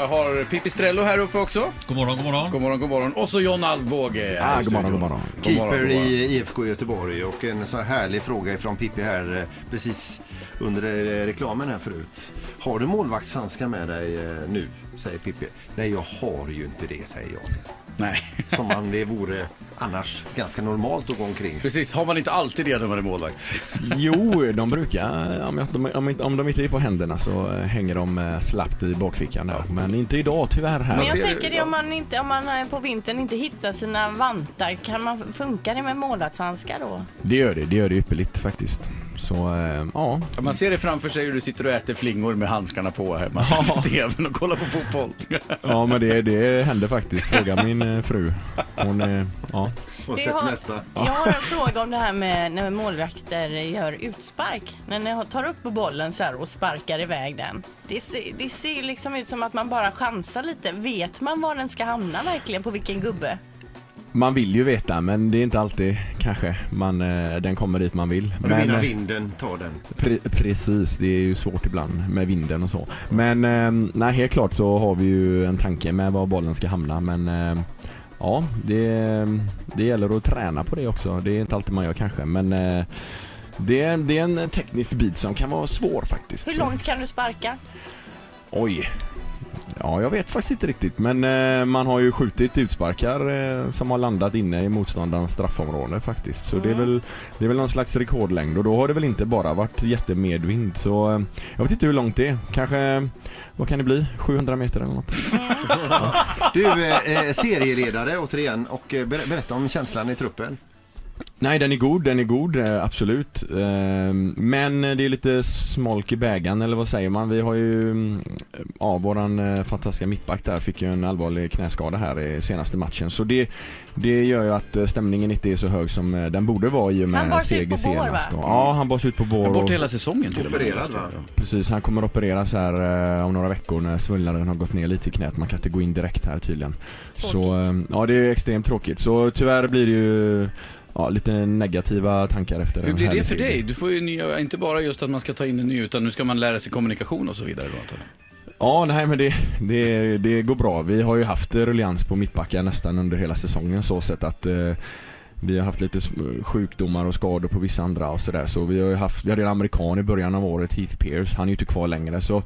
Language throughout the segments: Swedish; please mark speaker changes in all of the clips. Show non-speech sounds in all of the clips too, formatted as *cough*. Speaker 1: Jag har Pipistrello här uppe också.
Speaker 2: God morgon, god morgon.
Speaker 1: God morgon, god morgon. Och så John Alvbåge. här
Speaker 3: Ah,
Speaker 1: i
Speaker 3: god morgon,
Speaker 1: studion.
Speaker 3: god morgon.
Speaker 1: God morgon,
Speaker 4: Keeper
Speaker 1: god morgon.
Speaker 4: i IFK Göteborg och en så här härlig fråga ifrån Pippi här eh, precis under eh, reklamen här förut. Har du målvaktshandskar med dig eh, nu? Säger Pippi. Nej, jag har ju inte det, säger jag.
Speaker 1: Nej, *laughs*
Speaker 4: Som om det vore annars ganska normalt att gå omkring.
Speaker 1: precis. Har man inte alltid det när man är målvakt?
Speaker 3: *laughs* Jo, de brukar, om, jag, om, om, inte- om de inte är på händerna så eh, hänger de eh, slappt i bakfickan där. Men inte idag tyvärr
Speaker 5: Men
Speaker 3: här.
Speaker 5: jag
Speaker 1: ser
Speaker 5: tänker
Speaker 1: det
Speaker 5: det om man, inte, om man eh, på vintern inte hittar sina vantar, kan man, funkar det med målarhandskar då?
Speaker 3: Det gör det, det gör det ypperligt faktiskt. Så eh, ja,
Speaker 1: Ja, Man ser det framför sig hur du sitter och äter flingor med handskarna på hemma på tvn och kollar på fotboll.
Speaker 3: ja men det, det hände faktiskt. Fråga min eh, fru. Hon, eh, ja.
Speaker 4: Och
Speaker 5: Det
Speaker 4: sätt
Speaker 5: har-
Speaker 4: nästa.
Speaker 5: Jag
Speaker 3: *laughs*
Speaker 5: har en fråga om det här med när målvakter gör utspark. När ni tar upp bollen så här och sparkar iväg den. Det ser, det ser ju liksom ut som att man bara chansar lite. Vet man var den ska hamna verkligen? På vilken gubbe?
Speaker 3: Man vill ju veta men det är inte alltid kanske man, eh, den kommer dit man vill.
Speaker 4: Men, du menar
Speaker 3: eh,
Speaker 4: vinden tar den?
Speaker 3: Pre precis, det är ju svårt ibland med vinden och så. Men eh, nej, helt klart så har vi ju en tanke med var bollen ska hamna men eh, ja, det, det gäller att träna på det också. Det är inte alltid man gör kanske men eh, det, är- det är en teknisk bit som kan vara svår faktiskt.
Speaker 5: Hur
Speaker 3: Så-
Speaker 5: långt kan du sparka?
Speaker 3: Oj. Ja, jag vet faktiskt inte riktigt men eh, man har ju skjutit utsparkar eh, som har landat inne i motståndarens straffområde faktiskt. Så det, är väl, det är väl någon slags rekordlängd och då har det väl inte bara varit jättemedvind. Så eh, jag vet inte hur långt det är. Kanske, vad kan det bli? 700 meter eller något?
Speaker 4: Du, eh, eh, serieledare återigen och eh, ber- berätta om känslan i truppen.
Speaker 3: Nej, den är god, den är god, eh, absolut. Eh, Men det är lite smolk i bägaren, eller vad säger man? Vi har ju, mm, ja, våran eh, fantastiska mittback där fick ju en allvarlig knäskada här i senaste matchen. Så det, det gör ju att eh, stämningen inte är så hög som eh, den borde vara i och
Speaker 5: Han
Speaker 3: med
Speaker 5: bars ut på
Speaker 3: seger
Speaker 5: bår,
Speaker 3: senast.
Speaker 5: va?
Speaker 3: då. Ja, han bars ut på bår.
Speaker 1: Bort
Speaker 3: och-
Speaker 1: hela säsongen till och med.
Speaker 4: Opererad, va?
Speaker 3: Precis, han kommer opereras här eh, om några veckor när svullnaden har gått ner lite i knät. Man kan inte gå in direkt här tydligen. Så eh, ja, det är extremt tråkigt. Så tyvärr blir det ju ja, lite negativa tankar efter
Speaker 1: Hur
Speaker 3: en
Speaker 1: blir det
Speaker 3: härlig
Speaker 1: för
Speaker 3: seger.
Speaker 1: dig? Du får ju nya, inte bara just att man ska ta in en ny, utan nu ska man lära sig kommunikation och så vidare. Då, antar jag.
Speaker 3: Ja, nej men det, det, det går bra. Vi har ju haft eh, ruljans på mittbackar nästan under hela säsongen så sett att eh, vi har haft lite sm- sjukdomar och skador på vissa andra och sådär. Så vi har ju haft, vi hade en amerikan i början av året, Heath Pierce. Han är ju inte kvar längre så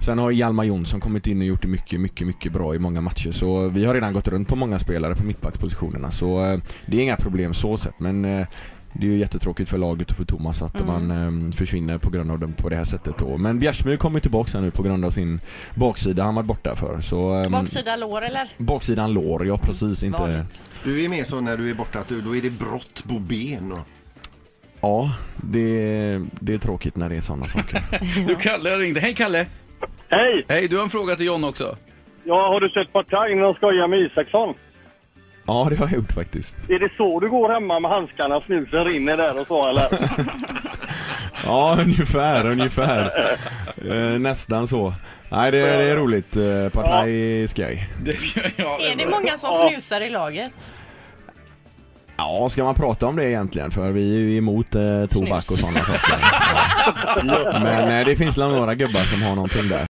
Speaker 3: Sen har Hjalmar Jonsson kommit in och gjort det mycket, mycket, mycket bra i många matcher. Så eh, vi har redan gått runt på många spelare på mittbackspositionerna. Så eh, det är inga problem så sett. Men eh, det är ju jättetråkigt för laget och för Thomas att man eh, försvinner på grund av dem på det här sättet då. Men Bjärsmyr kommer tillbaka här nu på grund av sin baksida han var borta för. Så, ehm,
Speaker 5: Baksida lår eller?
Speaker 3: Baksidan lår, ja precis. Inte...
Speaker 5: Vanligt.
Speaker 4: Du är med så när du är borta att du, då är det brott på ben. Och...
Speaker 3: Ja, det, det är tråkigt när det är sådana saker.
Speaker 1: Du, Kalle har ringt. Hej Kalle!
Speaker 6: Hej!
Speaker 1: Hej, du har en fråga till John också.
Speaker 6: Ja, har du sett Partaj när de skojar med Isaksson?
Speaker 3: ja, det har jag gjort faktiskt.
Speaker 6: Är det så du går hemma med handskarna? Snusen rinner där och så eller?
Speaker 3: Ja, ungefär, ungefär. Eh, nästan så. Nej, det, det är roligt. Eh, Partaj är skoj.
Speaker 1: Det, ja, det
Speaker 5: Är det
Speaker 1: bra.
Speaker 5: många som snusar i laget?
Speaker 3: Ja, ska man prata om det egentligen? För vi är ju emot eh, tobak och sådana saker. Men eh, det finns nog några gubbar som har någonting där.